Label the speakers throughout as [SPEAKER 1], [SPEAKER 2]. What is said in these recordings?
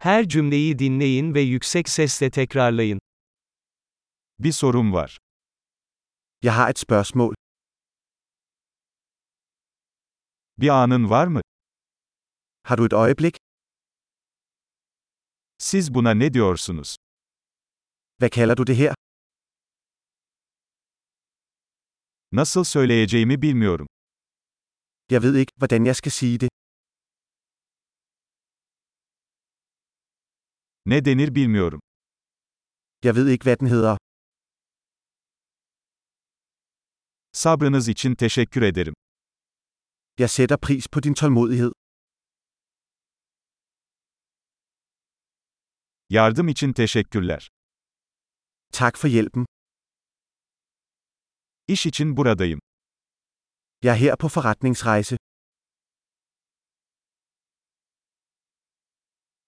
[SPEAKER 1] Her cümleyi dinleyin ve yüksek sesle tekrarlayın.
[SPEAKER 2] Bir sorum var.
[SPEAKER 3] Jeg har et spørgsmål.
[SPEAKER 2] Bir anın var mı?
[SPEAKER 3] Har du et øjeblik?
[SPEAKER 2] Siz buna ne diyorsunuz?
[SPEAKER 3] Hvad kalder du det her?
[SPEAKER 2] Nasıl söyleyeceğimi bilmiyorum.
[SPEAKER 3] Jeg ved ikke, hvordan jeg skal sige det.
[SPEAKER 2] Ne denir bilmiyorum.
[SPEAKER 3] Jeg ved ikke, hvad den hedder.
[SPEAKER 2] Sabrınız için teşekkür ederim.
[SPEAKER 3] Jeg sætter pris på din tålmodighed.
[SPEAKER 2] Yardım için teşekkürler.
[SPEAKER 3] Tak for hjælpen.
[SPEAKER 2] İş için buradayım.
[SPEAKER 3] Jeg er her på forretningsrejse.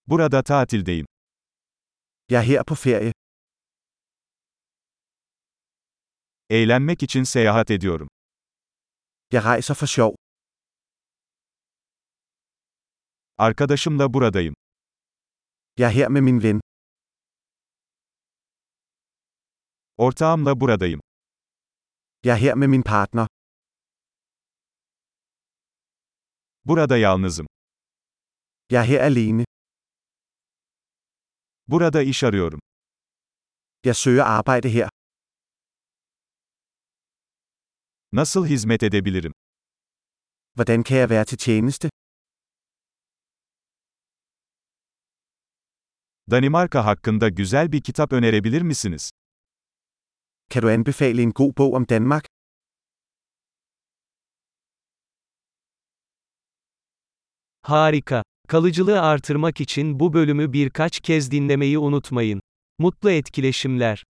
[SPEAKER 2] Burada tatildeyim.
[SPEAKER 3] Jeg er her på ferie.
[SPEAKER 2] Eğlenmek için seyahat ediyorum.
[SPEAKER 3] Jeg rejser for sjov.
[SPEAKER 2] Arkadaşımla buradayım.
[SPEAKER 3] Jeg er her med min ven.
[SPEAKER 2] Ortağımla buradayım.
[SPEAKER 3] Jeg er her med min partner.
[SPEAKER 2] Burada yalnızım.
[SPEAKER 3] Jeg er her alene.
[SPEAKER 2] Burada iş arıyorum.
[SPEAKER 3] Jeg søger arbejde her.
[SPEAKER 2] Nasıl hizmet edebilirim?
[SPEAKER 3] Hvordan kan jeg være til tjeneste?
[SPEAKER 2] Danimarka hakkında güzel bir kitap önerebilir misiniz?
[SPEAKER 3] Kan du anbefale en god bog om Danmark?
[SPEAKER 1] Harika. Kalıcılığı artırmak için bu bölümü birkaç kez dinlemeyi unutmayın. Mutlu etkileşimler.